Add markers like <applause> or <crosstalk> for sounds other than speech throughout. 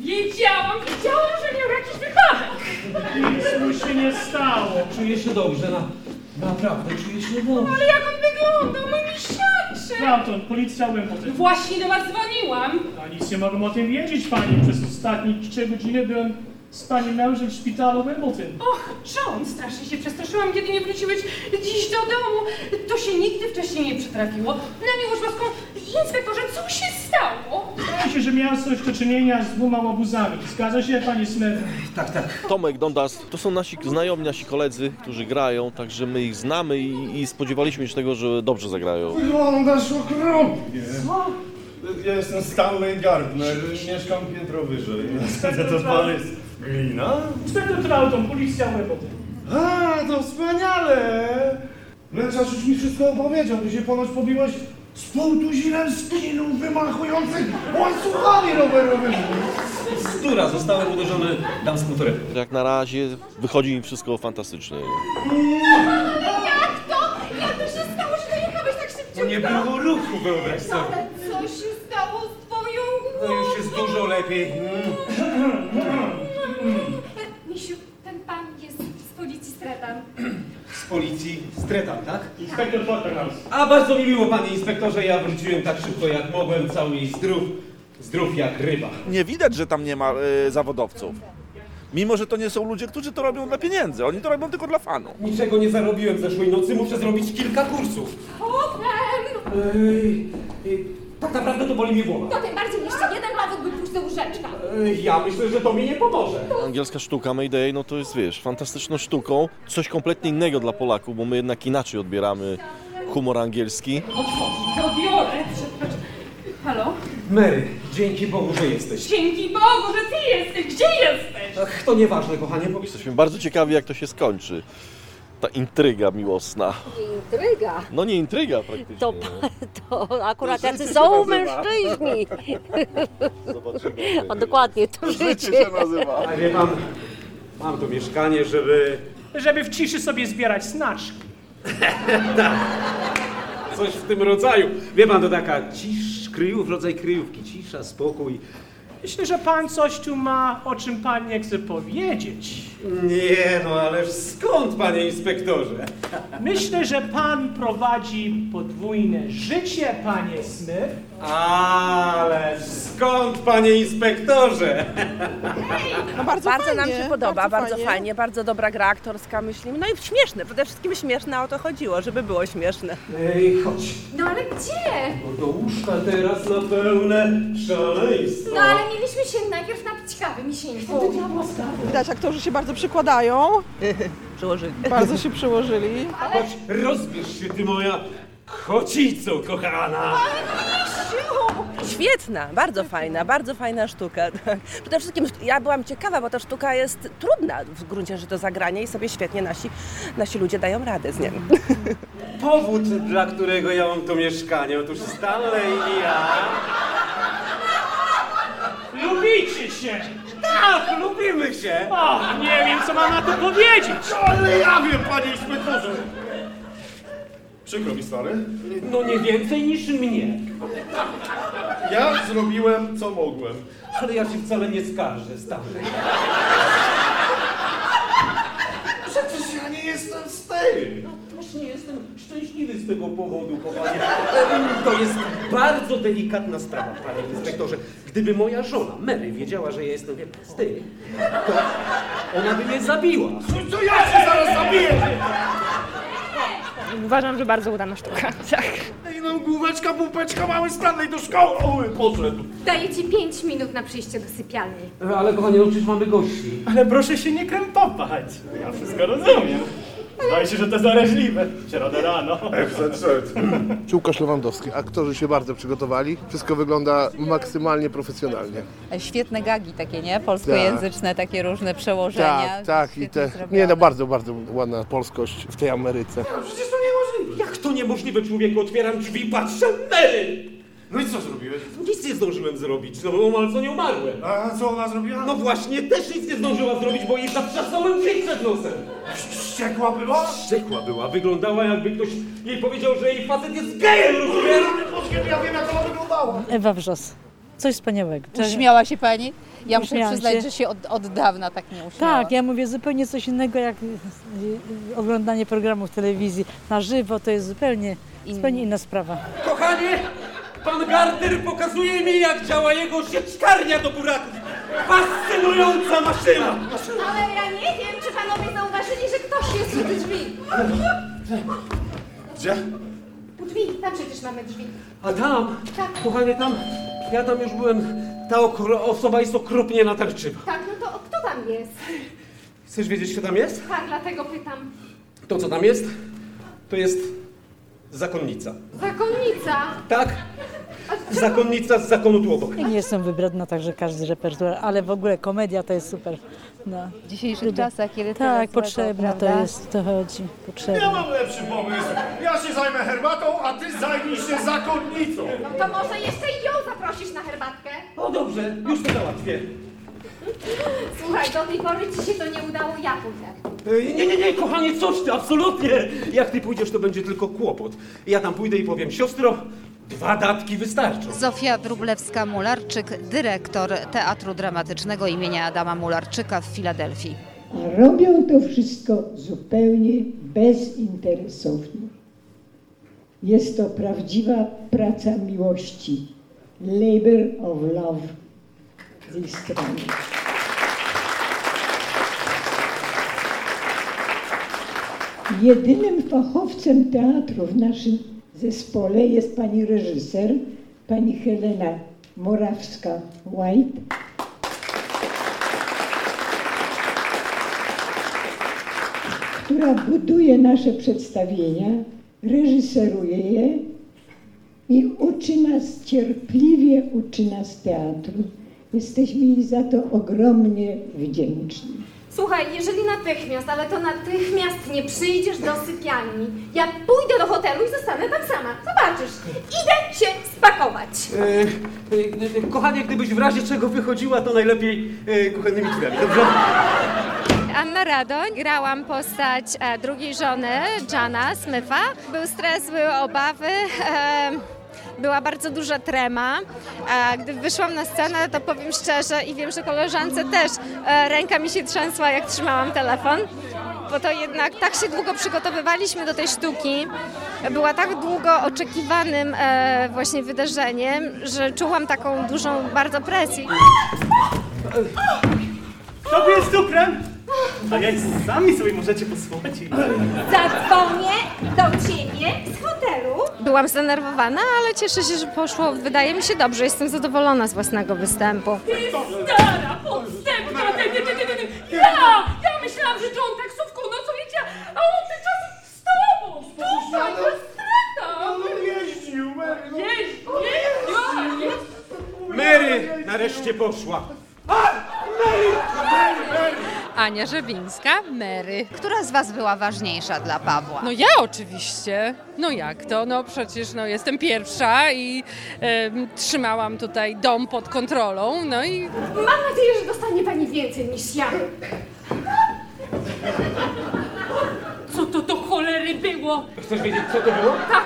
Wiedziałam, wiedziałam, że miał jakiś wypadek. Nic mu się nie stało. Czuję się dobrze, na, naprawdę czuję się dobrze. Ale jak on wyglądał, mój miesiącze. Prawdą, No, policja Łępoty. Właśnie do was dzwoniłam. A nic nie mogłem o tym wiedzieć, pani. Przez ostatnie trzy godziny byłem z pani mężem w szpitalu Wimbledon. Och, John, strasznie się przestraszyłam, kiedy nie wróciłeś dziś do domu. To się nigdy wcześniej nie przytrafiło. Na miłość boską, inspektorze, co się stało? Wydaje się, że miałem coś do czynienia z dwoma łobuzami. Zgadza się, pani Smith? Tak, tak. Tomek, Dondas, to są nasi znajomi, nasi koledzy, którzy grają, także my ich znamy i, i spodziewaliśmy się tego, że dobrze zagrają. Wyglądasz okropnie. Ja jestem Stanley Gardner, mieszkam piętro wyżej. to pan jest glina? Inspektor Trouton, policja Wimbledon. A, to wspaniale! Męczarz już mi wszystko opowiedział, ty się ponoć pobiłeś z półtuzinem skinów wymachujących łańcuchami rowerowymi. Stura, zostałem uderzony damską torebką. Jak na razie wychodzi im wszystko fantastycznie. Ale jak to? Jak to się stało, że dojechałeś tak szybciutko? ruchu, wyobraź Ale co się stało z twoją głową? No dużo lepiej. mm, Misiu, ten pan jest z policji Stretan. Z policji stretam, tak? Inspektor Porterhouse. A bardzo mi miło, panie inspektorze, ja wróciłem tak szybko jak mogłem, cały i zdrów, zdrów jak ryba. nie widać, że tam nie ma y, zawodowców. Mimo, że to nie są ludzie, którzy to robią dla pieniędzy. Oni to robią tylko dla fanu. Niczego nie zarobiłem zeszłej nocy, muszę zrobić kilka kursów. Potem! Ej, ej, tak naprawdę to boli mnie głowa. To tym bardziej jeszcze jeden ławek by pójść do łóżeczka. Ej, ja myślę, że to mi nie pomoże. Angielska sztuka Mayday, no to jest, wiesz, fantastyczną sztuką, coś kompletnie innego dla Polaków, bo my jednak inaczej odbieramy humor angielski. Dobiorę, przepraszam. Halo? Mary, dzięki Bogu, że jesteś. Dzięki Bogu, że ty jesteś. Gdzie jesteś? Ach, to nieważne, kochanie, powiedz Jesteśmy bardzo ciekawi, jak to się skończy. Ta intryga miłosna. Intryga. No nie intryga praktycznie. To, to akurat jacy są <laughs> mężczyźni. Zobaczymy. O, dokładnie, to życie. nazywa. A wie pan, mam tu mieszkanie, żeby Żeby w ciszy sobie zbierać snaczki. coś w tym rodzaju. Wie pan, to taka cisz, kryjów, rodzaj kryjówki, cisza, spokój. Myślę, że pan coś tu ma, o czym pan nie chce powiedzieć. Nie, no ależ skąd, panie inspektorze? Myślę, że pan prowadzi podwójne życie, panie Smith. Ależ skąd, panie inspektorze? No bardzo, nam się podoba, bardzo, fajnie. bardzo dobra gra aktorska, myślimy. No i śmieszne, przede wszystkim śmieszne, o to chodziło, żeby było śmieszne. Ej, chodź. No ale gdzie? No do łóżka teraz na pełne szaleństwo. No ale mieliśmy się najpierw napić kawy, misieńku. Widać, aktorzy się bardzo przykładają. Przyłożyli. Bardzo się przyłożyli. Chodź, rozbierz się, ty moja kocico kochana. Świetna, bardzo fajna, bardzo fajna sztuka. <laughs> tak. Przede wszystkim ja byłam ciekawa, bo ta sztuka jest trudna w gruncie rzeczy do zagrania i sobie świetnie nasi, nasi ludzie dają radę z nią. Powód, dla którego ja mam to mieszkanie, otóż Stanley i ja... Lubicie się! Tak, lubimy się. Ach, nie wiem, co mam na to powiedzieć. Ale ja wiem, panie inspektorze. Przykro mi, stary. No nie więcej niż mnie. Ja zrobiłem, co mogłem. Ale ja się wcale nie skarżę, Stanley. Przecież ja nie jestem stary. No, Też nie jestem szczęśliwy z tego powodu, kochanie. To jest bardzo delikatna sprawa, panie inspektorze. Gdyby moja żona, Mary, wiedziała, że ja jestem wie pan, styl, to ona by mnie zabiła. To ja cię zaraz zabiję. Uważam, że bardzo udana sztuka. <laughs> Tak. Ej, no główeczka, pupeczka, mały Stanley do szkoły poszedł. Daję ci pięć minut na przyjście do sypialni. Ale kochanie, no przecież mamy gości. Ale proszę się nie krępować. Ja wszystko rozumiem. Zdaje się, że to zaraźliwe. W Środę rano. Hmm. Łukasz Lewandowski. Aktorzy się bardzo przygotowali. Wszystko wygląda maksymalnie profesjonalnie. Świetne gagi takie, nie? Polskojęzyczne, takie różne przełożenia. Tak, tak. I Świetnie te, zrobione. nie, no bardzo, bardzo ładna polskość w tej Ameryce. No, Przecież to niemożliwe. Jak to niemożliwe, człowieku? Otwieram drzwi, patrzę, Mary! No i co zrobiłeś? Nic nie zdążyłem zrobić, no bo malco nie umarłem. A co ona zrobiła? No No właśnie, też nic nie zdążyła zrobić, bo jej zatrzasnąłem drzwi przed nosem. wściekła była? Wściekła była, wyglądała jakby ktoś jej powiedział, że jej facet jest gejem, rozumiesz? Ja wiem, jak ona wyglądała. Ewa Wrzos. Coś wspaniałego. Uśmiała się pani? Ja muszę Uśmiałam przyznać, się. że się od, od dawna tak nie uśmiała. Tak, ja mówię zupełnie coś innego jak y, y, oglądanie programów telewizji na żywo, to jest zupełnie, zupełnie inna sprawa. Kochanie, pan Gardner pokazuje mi, jak działa jego sieczkarnia do buraków. Fascynująca maszyna! Ale ja nie wiem, czy panowie zauważyli, że ktoś jest u drzwi. Gdzie? U drzwi, tam przecież mamy drzwi. A tam, Tak. kochanie, tam, ja tam już byłem, ta okro- osoba jest okropnie natarczywa. Tak, no to kto tam jest? Chcesz wiedzieć, kto tam jest? Tak, dlatego pytam. To, co tam jest, to jest zakonnica. Zakonnica. Tak? Zakonnica z zakonu tu obok. I nie jestem wybredna, także każdy repertuar, ale w ogóle komedia to jest super. No. W dzisiejszych Lubię. czasach, kiedy tyle Tak, złego, potrzebna to prawda? jest, to chodzi, Ja potrzebna. mam lepszy pomysł. Ja się zajmę herbatą, a ty zajmij się zakonnicą. No to może jeszcze ją zaprosisz na herbatkę? O dobrze, już to załatwię. Słuchaj, do tej pory ci się to nie udało, ja pójdę. Ej, E, Nie, nie, nie, kochanie, coś ty, absolutnie! Jak ty pójdziesz, to będzie tylko kłopot. Ja tam pójdę i powiem, siostro, dwa datki wystarczą. Zofia Wróblewska-Mularczyk, dyrektor Teatru Dramatycznego imienia Adama Mularczyka w Filadelfii. A robią to wszystko zupełnie bezinteresownie. Jest to prawdziwa praca miłości. Labor of love z tej strony. Jedynym fachowcem teatru w naszym zespole jest pani reżyser, pani Helena Morawska-White. która buduje nasze przedstawienia, reżyseruje je i uczy nas cierpliwie, uczy nas teatru. Jesteśmy jej za to ogromnie wdzięczni. Słuchaj, jeżeli natychmiast, ale to natychmiast nie przyjdziesz do sypialni. Ja pójdę do hotelu i zostanę tam sama. Zobaczysz, idę cię spakować. Ej, ej, ej, e, kochanie, gdybyś w razie czego wychodziła, to najlepiej e, kuchennymi drzwiami, dobrze? Anna Radoń, grałam postać e, drugiej żony Jana Smyfa. Był stres, były obawy, e, była bardzo duża trema. E, gdy wyszłam na scenę, to powiem szczerze i wiem, że koleżance też e, ręka mi się trzęsła, jak trzymałam telefon. Bo to jednak tak się długo przygotowywaliśmy do tej sztuki. Była tak długo oczekiwanym e, właśnie wydarzeniem, że czułam taką dużą bardzo presję. To był z cukrem! A ja i sami sobie możecie posłuchać. Zadzwonię do ciebie z hotelu. Byłam zdenerwowana, ale cieszę się, że poszło. Wydaje mi się dobrze. Jestem zadowolona z własnego występu. Ty stara, podstępna, ty, ty, ty, ty, ty, ty. Ja, ja myślałam, że John taksówką nocujecie, a on tymczasem z tobą, tutaj, na stratach. No jeździł, Mary, no. Jeździł, jeździł, jeździł. Mary nareszcie poszła. Ania Żebińska, Mary. Która z Was była ważniejsza dla Pawła? No ja oczywiście. No jak to? No przecież no, jestem pierwsza i em, trzymałam tutaj dom pod kontrolą. No i Mam nadzieję, że dostanie pani więcej niż ja. Co to do cholery było? Chcesz wiedzieć, co to było? Tak.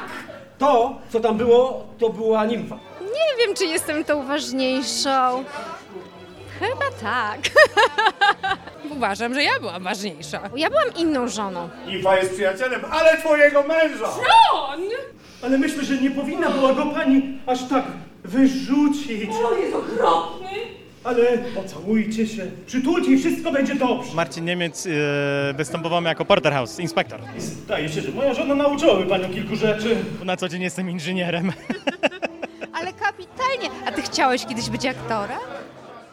To, co tam było, to była nimfa. Nie wiem, czy jestem tą ważniejszą. Chyba tak. <laughs> uważam, że ja byłam ważniejsza. Ja byłam inną żoną. Nimfa jest przyjacielem, ale twojego męża! John! Ale myślę, że nie powinna była go pani aż tak wyrzucić. On jest okropny. Ale pocałujcie się, przytulcie i wszystko będzie dobrze. Marcin Niemiec e, występował jako porterhouse, inspektor. Zdaje się, że moja żona nauczyłaby panią kilku rzeczy. Na co dzień jestem inżynierem. <laughs> Ale kapitalnie. A Ty chciałeś kiedyś być aktorem?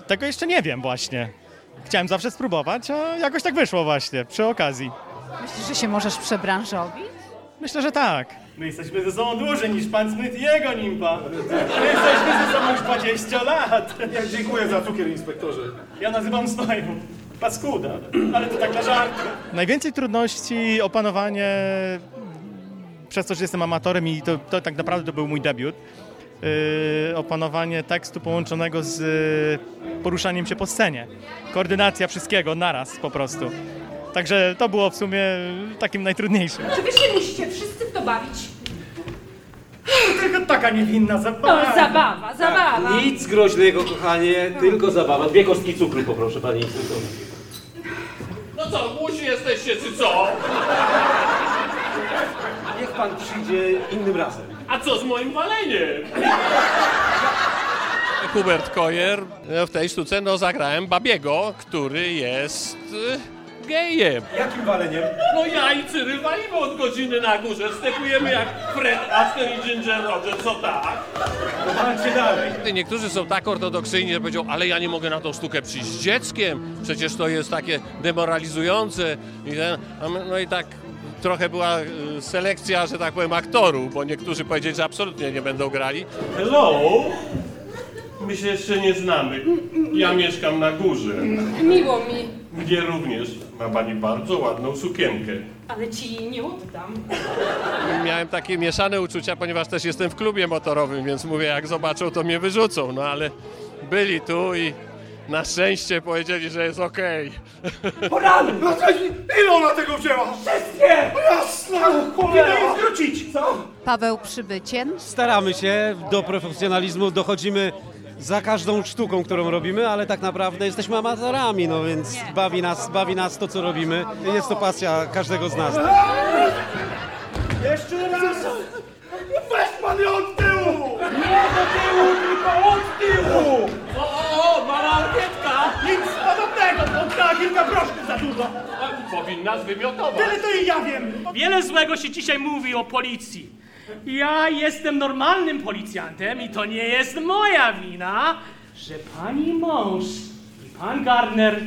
Tego jeszcze nie wiem właśnie. Chciałem zawsze spróbować, a jakoś tak wyszło właśnie, przy okazji. Myślisz, że się możesz przebranżowić? Myślę, że tak. My jesteśmy ze sobą dłużej niż pan Smith i jego nimfa. My jesteśmy ze sobą już 20 lat. Ja dziękuję za cukier, inspektorze. Ja nazywam Snoju. Paskuda, ale to tak dla żartu. Najwięcej trudności, opanowanie, przez to, że jestem amatorem i to, to tak naprawdę to był mój debiut, yy, opanowanie tekstu połączonego z yy, poruszaniem się po scenie. Koordynacja wszystkiego naraz po prostu. Także to było w sumie takim najtrudniejszym. Czy wy się musicie wszyscy w to bawić? Tylko taka niewinna zabawa. To No, zabawa, Tak. zabawa. Nic groźnego, kochanie, tylko zabawa. Dwie kostki cukru poproszę, pani instruktor. No co, głusi jesteście czy co? Niech pan przyjdzie innym razem. A co z moim waleniem? Hubert Kojer no, w tej sztuce no, zagrałem babiego, który jest y, gejem. Jakim waleniem? No ja i Cyryl walimy od godziny na górze, stepujemy jak Fred Astaire i Ginger Rogers, co tak? Walcie dalej. Niektórzy są tak ortodoksyjni, że powiedzą, ale ja nie mogę na tą sztukę przyjść z dzieckiem, przecież to jest takie demoralizujące. I ten, a my- no i tak trochę była y, selekcja, że tak powiem, aktorów, bo niektórzy powiedzieli, że absolutnie nie będą grali. Hello? My się jeszcze nie znamy. Ja mieszkam na górze, Miło mi, gdzie również ma pani bardzo ładną sukienkę. ale ci jej nie oddam. Miałem takie mieszane uczucia, ponieważ też jestem w klubie motorowym, więc mówię, jak zobaczą, to mnie wyrzucą. No ale byli tu i na szczęście powiedzieli, że jest okej. Porany! No co, ile ona tego wzięła? Wszystkie! Jasna! Powinna jej zwrócić! Co? Paweł Przybycien. Staramy się, do profesjonalizmu dochodzimy za każdą sztuką, którą robimy, ale tak naprawdę jesteśmy amatorami, no więc bawi nas, bawi nas to, co robimy. Jest to pasja każdego z nas. Jeszcze raz! Weź pan ją od tyłu! Nie do tyłu, tylko od tyłu! O, o, o, mała orkietka! Nic podobnego, to trzeba kilka groszków za dużo. Powinna zwymiotować. Tyle to i ja wiem. Wiele złego się dzisiaj mówi o policji. Ja jestem normalnym policjantem i to nie jest moja wina, że pani mąż i pan Gardner e,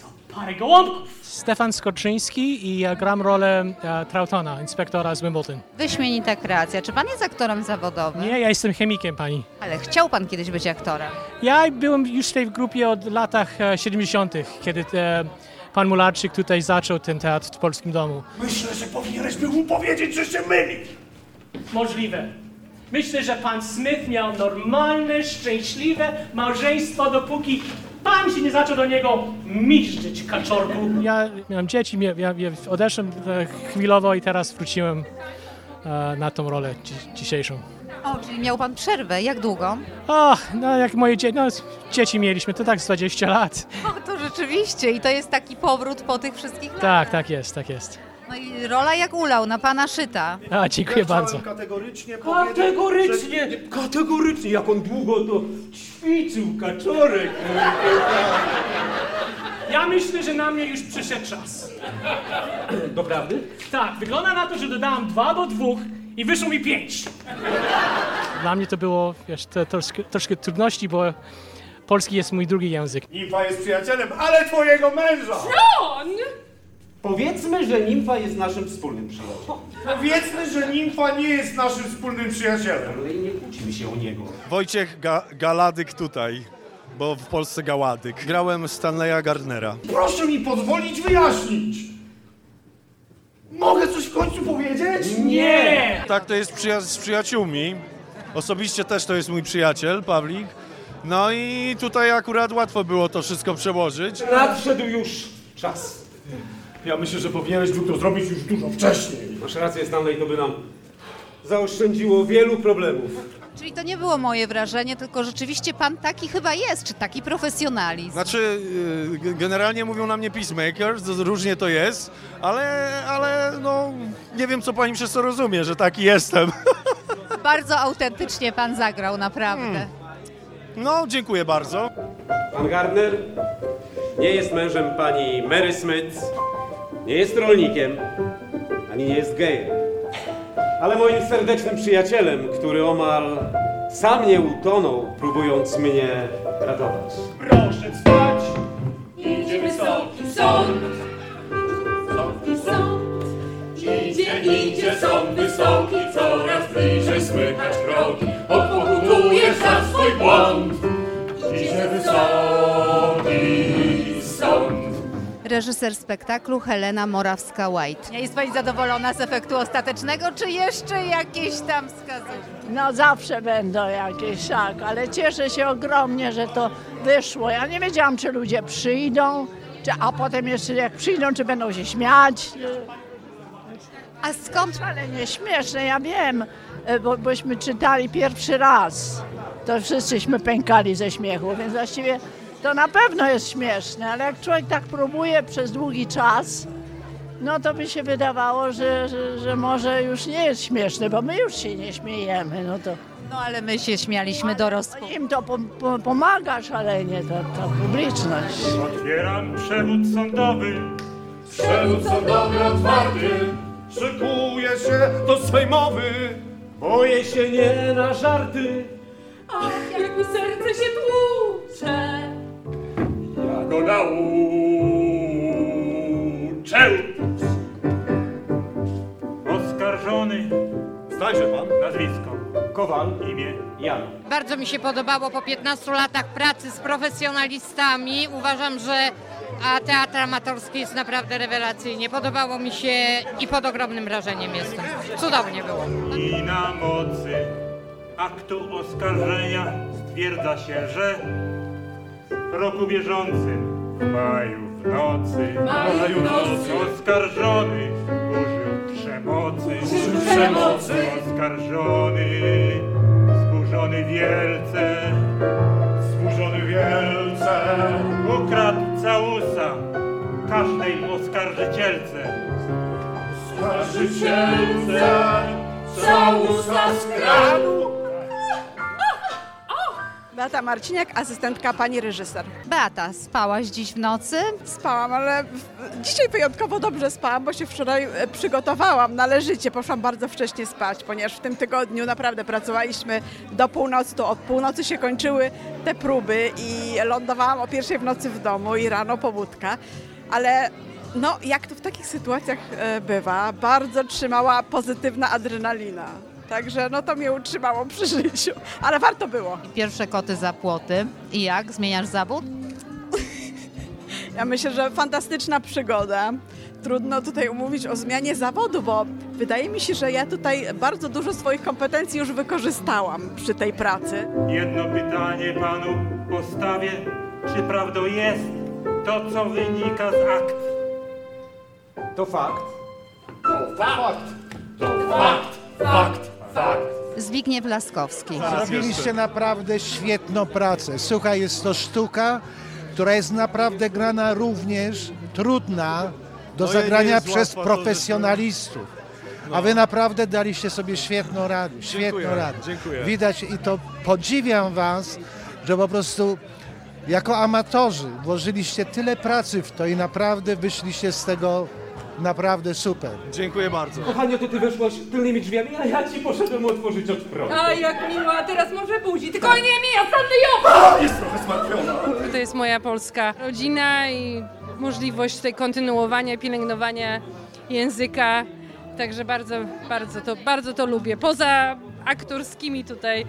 to parę gołąbków. Stefan Skoczyński i ja gram rolę e, Trautona, inspektora z Wimbledon. Wyśmienita kreacja. Czy pan jest aktorem zawodowym? Nie, ja jestem chemikiem, pani. Ale chciał pan kiedyś być aktorem. Ja byłem już w tej grupie od latach e, 70., kiedy e, pan Mularczyk tutaj zaczął ten teatr w Polskim Domu. Myślę, że powinieneś był mu powiedzieć, że się myli. Możliwe. Myślę, że pan Smith miał normalne, szczęśliwe małżeństwo, dopóki pan się nie zaczął do niego miżdżyć, kaczorku. Ja miałem dzieci, mia- ja, ja odeszłem e, chwilowo i teraz wróciłem e, na tą rolę dzi dzisiejszą. O, czyli miał pan przerwę. Jak długo? Ach, no jak moje dzieci, no z- dzieci mieliśmy, to tak z 20 lat. O, No to rzeczywiście. I to jest taki powrót po tych wszystkich latach. Tak, tak jest, tak jest. No i rola jak ulał, na pana szyta. A, dziękuję bardzo. Kategorycznie Kategorycznie, kategorycznie, jak on długo to ćwiczył, kaczorek. Ja myślę, że na mnie już przyszedł czas. Doprawdy? Tak, wygląda na to, że dodałem dwa do dwóch i wyszło mi pięć. Dla mnie to było wiesz, to, troszkę, troszkę trudności, bo polski jest mój drugi język. Nimfa jest przyjacielem, ale twojego męża! John! Powiedzmy, że nimfa jest naszym wspólnym przyjacielem. Powiedzmy, że nimfa nie jest naszym wspólnym przyjacielem. Ale nie kłócimy się o niego. Wojciech Ga- Galadyk tutaj, bo w Polsce Gaładyk. Grałem Stanleya Gardnera. Proszę mi pozwolić wyjaśnić. Mogę coś w końcu powiedzieć? Tak to jest przyja- z przyjaciółmi. Osobiście też to jest mój przyjaciel, Pawlik. No i tutaj akurat łatwo było to wszystko przełożyć. Nadszedł już czas. Ja myślę, że powinieneś był to zrobić już dużo wcześniej. Masz rację, Stanley, to by nam zaoszczędziło wielu problemów. Czyli to nie było moje wrażenie, tylko rzeczywiście pan taki chyba jest, czy taki profesjonalizm. Znaczy, y, g- generalnie mówią na mnie peacemaker, z- różnie to jest, ale, ale no, nie wiem co pani przez to rozumie, że taki jestem. <laughs> Bardzo autentycznie pan zagrał, naprawdę. No, dziękuję bardzo. Pan Gardner nie jest mężem pani Mary Smith, nie jest rolnikiem, ani nie jest gejem. Ale moim serdecznym przyjacielem, który omal sam nie utonął, próbując mnie ratować. Proszę wstać! Idziemy stąd, tu sąd, tu sąd. Idzie, idzie sąd wysoki, coraz bliżej słychać kroki. Odpokutujesz za swój błąd. Idzie wysoki sąd. Hmm. Reżyser spektaklu Helena Morawska-White. Jest Pani zadowolona z efektu ostatecznego, czy jeszcze jakieś tam wskazówki? No zawsze będą jakieś, tak, ale cieszę się ogromnie, że to wyszło. Ja nie wiedziałam, czy ludzie przyjdą, czy, a potem jeszcze jak przyjdą, czy będą się śmiać. A skąd? Ale nie śmieszne, ja wiem, e, bo, bośmy czytali pierwszy raz. To wszyscyśmy pękali ze śmiechu, więc właściwie to na pewno jest śmieszne, ale jak człowiek tak próbuje przez długi czas, no to by się wydawało, że, że, że może już nie jest śmieszne, bo my już się nie śmiejemy, no to... No, No ale my się śmialiśmy dorosłą. Im to pom- pom- pomaga szalenie, ta, ta publiczność. Otwieram przewód sądowy. Przewód sądowy otwarty. Szykuję się do sejmowy. Boję się nie na żarty. Ach, jak mi serce się tłucze. Ja go nauczę. Oskarżony. Znajdzie pan nazwisko. Kowal. Imię. Jan. Bardzo mi się podobało po 15 latach pracy z profesjonalistami. Uważam, że a teatr amatorski jest naprawdę rewelacyjnie. Podobało mi się i pod ogromnym wrażeniem jestem. Cudownie było. I na mocy aktu oskarżenia stwierdza się, że w roku bieżącym, w maju w nocy, maju w nocy oskarżony użył przemocy, Użył przemocy. oskarżony, zburzony wielce, zburzony wielce, ukradł całusa każdej oskarżycielce. Oskarżycielce całusa skradł. Beata Marciniak, asystentka pani reżyser. Beata, spałaś dziś w nocy? Spałam, ale w- dzisiaj wyjątkowo dobrze spałam, bo się wczoraj e, przygotowałam należycie. Poszłam bardzo wcześnie spać, ponieważ w tym tygodniu naprawdę pracowaliśmy do północy. To od północy się kończyły te próby i lądowałam o pierwszej w nocy w domu i rano pobudka. Ale no, jak to w takich sytuacjach e, bywa, bardzo trzymała pozytywna adrenalina. Także no to mnie utrzymało przy życiu, ale warto było. Pierwsze koty za płoty. I jak? Zmieniasz zawód? Ja myślę, że fantastyczna przygoda. Trudno tutaj umówić o zmianie zawodu, bo wydaje mi się, że ja tutaj bardzo dużo swoich kompetencji już wykorzystałam przy tej pracy. Jedno pytanie panu postawię. Czy prawdą jest to, co wynika z akt? To fakt. To fakt. Fakt. Zbigniew Laskowski. Tak. Zrobiliście naprawdę świetną pracę. Słuchaj, jest to sztuka, która jest naprawdę grana również trudna do No i nie zagrania jest łatwo, przez to profesjonalistów. A wy naprawdę daliście sobie świetną radę. Świetną Dziękuję, radę. dziękuję. Widać i to podziwiam was, że po prostu jako amatorzy włożyliście tyle pracy w to i naprawdę wyszliście z tego naprawdę super. Dziękuję bardzo. Kochanie, to ty weszłaś tylnymi drzwiami, a ja ci poszedłem otworzyć od frontu. A jak miło, a teraz może budzi. Tylko nie mi, a Sandy A, ją! Jest trochę zmartwiona. To jest moja polska rodzina i możliwość tej kontynuowania, pielęgnowania języka. Także bardzo, bardzo to, bardzo to lubię. Poza aktorskimi tutaj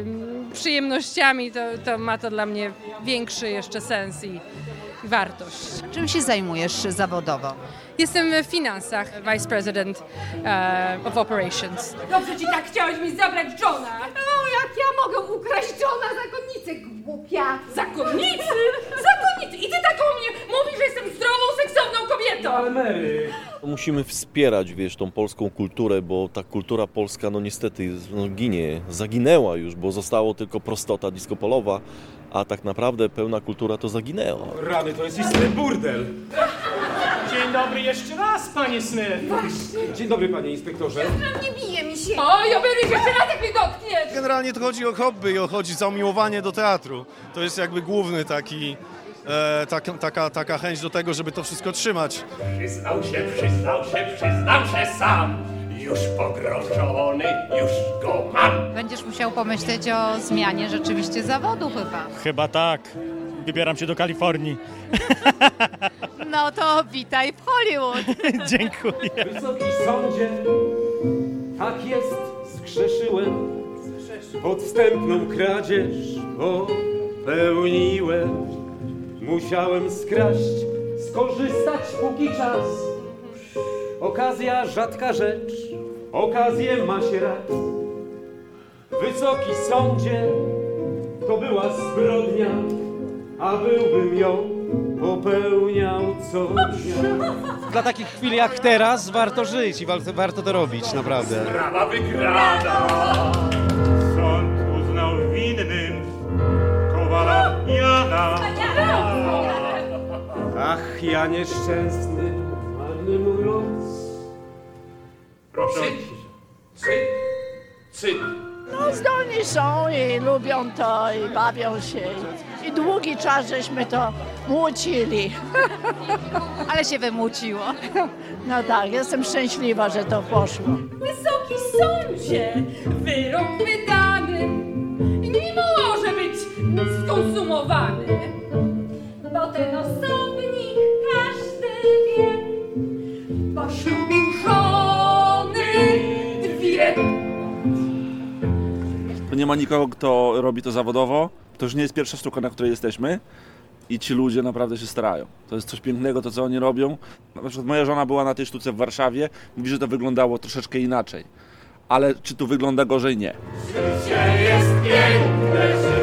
em, przyjemnościami, to, to ma to dla mnie większy jeszcze sens i, i wartość. Czym się zajmujesz zawodowo? Jestem w finansach, Vice President e, of Operations. Dobrze ci tak chciałeś mi zabrać Johna. O, jak ja mogę ukraść Johna zakonnicy, głupia! Zakonnicy? Zakonnicy! I ty tak o mnie mówisz, że jestem zdrową, seksowną kobietą! Ale Mary... Musimy wspierać, wiesz, tą polską kulturę, bo ta kultura polska, no niestety, jest- no, ginie, zaginęła już, bo zostało tylko prostota diskopolowa, a tak naprawdę pełna kultura to zaginęła. Rany, to jest istny burdel. Dzień dobry jeszcze raz, panie Smith. Właśnie. Dzień dobry, panie inspektorze. No, Nie bije mi się! Oj, obieruj się jeszcze raz, jak mnie dotkniesz! Generalnie to chodzi o hobby i o- chodzi za umiłowanie do teatru. To jest jakby główny taki, e, tak, taka, taka chęć do tego, żeby to wszystko trzymać. Przyznał się, przyznał się, przyznał się sam. Już pogrożony, już go mam. Będziesz musiał pomyśleć o zmianie rzeczywiście zawodu chyba. Chyba tak. Wybieram się do Kalifornii. No to witaj w Hollywood. Dziękuję. Wysoki sądzie, tak jest, zgrzeszyłem. Podstępną kradzież popełniłem. Musiałem skraść, skorzystać póki czas. Okazja rzadka rzecz, okazję ma się rad. Wysoki sądzie, to była zbrodnia, a byłbym ją popełniał co dnia. Dla takich chwil jak teraz warto żyć i warto, warto to robić, naprawdę. Sprawa wygrana. Sąd uznał winnym Kowala Jana. Ach, ja nieszczęsny, marny mój los. Proszę. Cyk, cyk. No zdolni są i lubią to i bawią się. I, i długi czas żeśmy to młócili. Ale się wymuciło. No tak, jestem szczęśliwa, że to poszło. Wysoki sądzie, wyrok wydany nie może być skonsumowany. Bo ten osobnik każdy wie, bo ślubił żony dwie. Nie ma nikogo, kto robi to zawodowo. To już nie jest pierwsza sztuka, na której jesteśmy. I ci ludzie naprawdę się starają. To jest coś pięknego, to co oni robią. Na przykład moja żona była na tej sztuce w Warszawie. Mówi, że to wyglądało troszeczkę inaczej. Ale czy tu wygląda gorzej? Nie. Życie jest piękne,